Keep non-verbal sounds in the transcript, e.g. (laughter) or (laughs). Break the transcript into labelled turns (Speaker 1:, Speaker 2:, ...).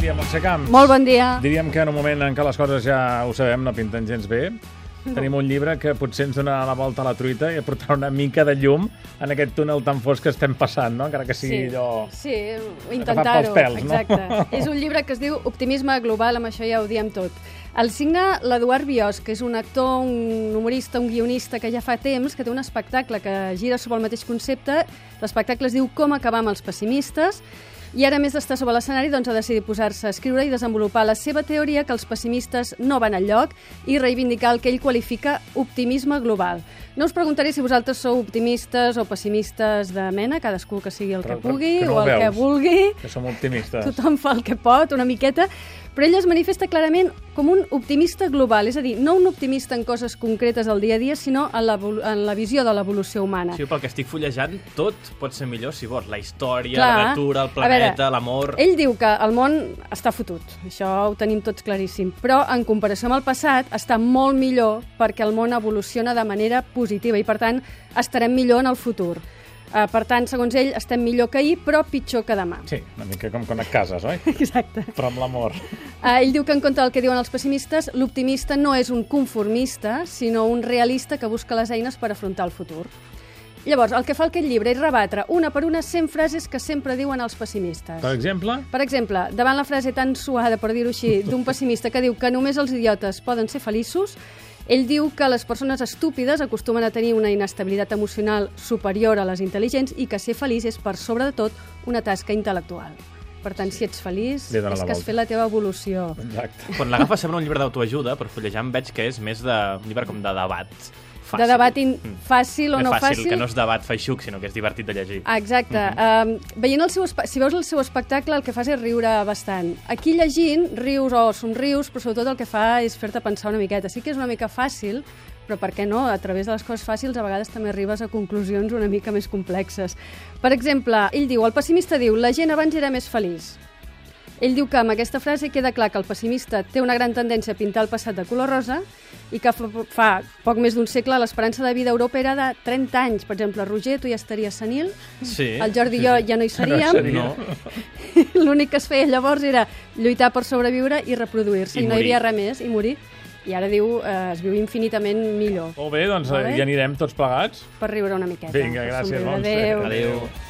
Speaker 1: dia, Montse Camps.
Speaker 2: Molt bon dia.
Speaker 1: Diríem que en un moment en què les coses ja ho sabem no pinten gens bé, tenim un llibre que potser ens donarà la volta a la truita i aportarà una mica de llum en aquest túnel tan fosc que estem passant, no? encara que sigui allò...
Speaker 2: sí intentar-ho.
Speaker 1: pels, no?
Speaker 2: Exacte. És un llibre que es diu Optimisme global, amb això ja ho diem tot. El signa l'Eduard Bios, que és un actor, un humorista, un guionista que ja fa temps que té un espectacle que gira sobre el mateix concepte. L'espectacle es diu Com acabar amb els pessimistes. I ara, a més d'estar sobre l'escenari, doncs, ha decidit posar-se a escriure i desenvolupar la seva teoria que els pessimistes no van enlloc i reivindicar el que ell qualifica optimisme global. No us preguntaré si vosaltres sou optimistes o pessimistes de mena, cadascú que sigui el
Speaker 1: Però-
Speaker 2: que
Speaker 1: però
Speaker 2: pugui
Speaker 1: que no
Speaker 2: o
Speaker 1: ho
Speaker 2: el que
Speaker 1: veus.
Speaker 2: vulgui.
Speaker 1: Que som optimistes.
Speaker 2: Tothom fa el que pot, una miqueta, però ell es manifesta clarament com un optimista global, és a dir, no un optimista en coses concretes del dia a dia, sinó en la, en la visió de l'evolució humana.
Speaker 3: Sí, pel que estic fullejant, tot pot ser millor si vols. La història,
Speaker 2: Clar.
Speaker 3: la natura, el
Speaker 2: A
Speaker 3: planeta,
Speaker 2: veure,
Speaker 3: l'amor...
Speaker 2: Ell diu que el món està fotut, això ho tenim tots claríssim, però en comparació amb el passat està molt millor perquè el món evoluciona de manera positiva i, per tant, estarem millor en el futur. Eh, per tant, segons ell, estem millor que ahir, però pitjor que demà.
Speaker 1: Sí, una mica com quan et cases, oi?
Speaker 2: Exacte.
Speaker 1: Però amb l'amor.
Speaker 2: Ah, ell diu que en contra del que diuen els pessimistes, l'optimista no és un conformista, sinó un realista que busca les eines per afrontar el futur. Llavors, el que fa aquest llibre és rebatre una per una 100 frases que sempre diuen els pessimistes.
Speaker 1: Per exemple,
Speaker 2: Per exemple, davant la frase tan suada, per dir-ho així, d'un pessimista que diu que només els idiotes poden ser feliços, ell diu que les persones estúpides acostumen a tenir una inestabilitat emocional superior a les intel·ligents i que ser feliç és, per sobre de tot, una tasca intel·lectual. Per tant, si ets feliç,
Speaker 1: Li dona
Speaker 2: és
Speaker 1: la
Speaker 2: que has
Speaker 1: volta.
Speaker 2: fet la teva evolució.
Speaker 1: exacte.
Speaker 3: Quan l'agafes sembla un llibre d'autoajuda, però fullejant veig que és més de... un llibre com de debat. Fàcil.
Speaker 2: De debat in... fàcil o
Speaker 3: Més
Speaker 2: no
Speaker 3: fàcil,
Speaker 2: fàcil.
Speaker 3: que no és debat feixuc, sinó que és divertit de llegir.
Speaker 2: Ah, Exacte. um, veient el seu espe- si veus el seu espectacle, el que fas és riure bastant. Aquí llegint, rius o somrius, però sobretot el que fa és fer-te pensar una miqueta. Sí que és una mica fàcil, però per què no? A través de les coses fàcils a vegades també arribes a conclusions una mica més complexes. Per exemple, ell diu, el pessimista diu, la gent abans era més feliç. Ell diu que amb aquesta frase queda clar que el pessimista té una gran tendència a pintar el passat de color rosa i que fa, fa poc més d'un segle l'esperança de vida a Europa era de 30 anys. Per exemple, Roger, tu ja estaries senil,
Speaker 3: Sí.
Speaker 2: el Jordi i jo ja no (laughs) hi seríem.
Speaker 3: No.
Speaker 2: L'únic que es feia llavors era lluitar per sobreviure i reproduir-se.
Speaker 3: I
Speaker 2: I no hi havia
Speaker 3: morir.
Speaker 2: res més, i morir. I ara diu, eh, es viu infinitament millor.
Speaker 1: Molt bé, doncs
Speaker 2: Molt bé.
Speaker 1: ja anirem tots plegats.
Speaker 2: Per riure una miqueta.
Speaker 1: Vinga, gràcies,
Speaker 2: Montse.
Speaker 1: Montse.
Speaker 2: Adéu.
Speaker 3: Adéu.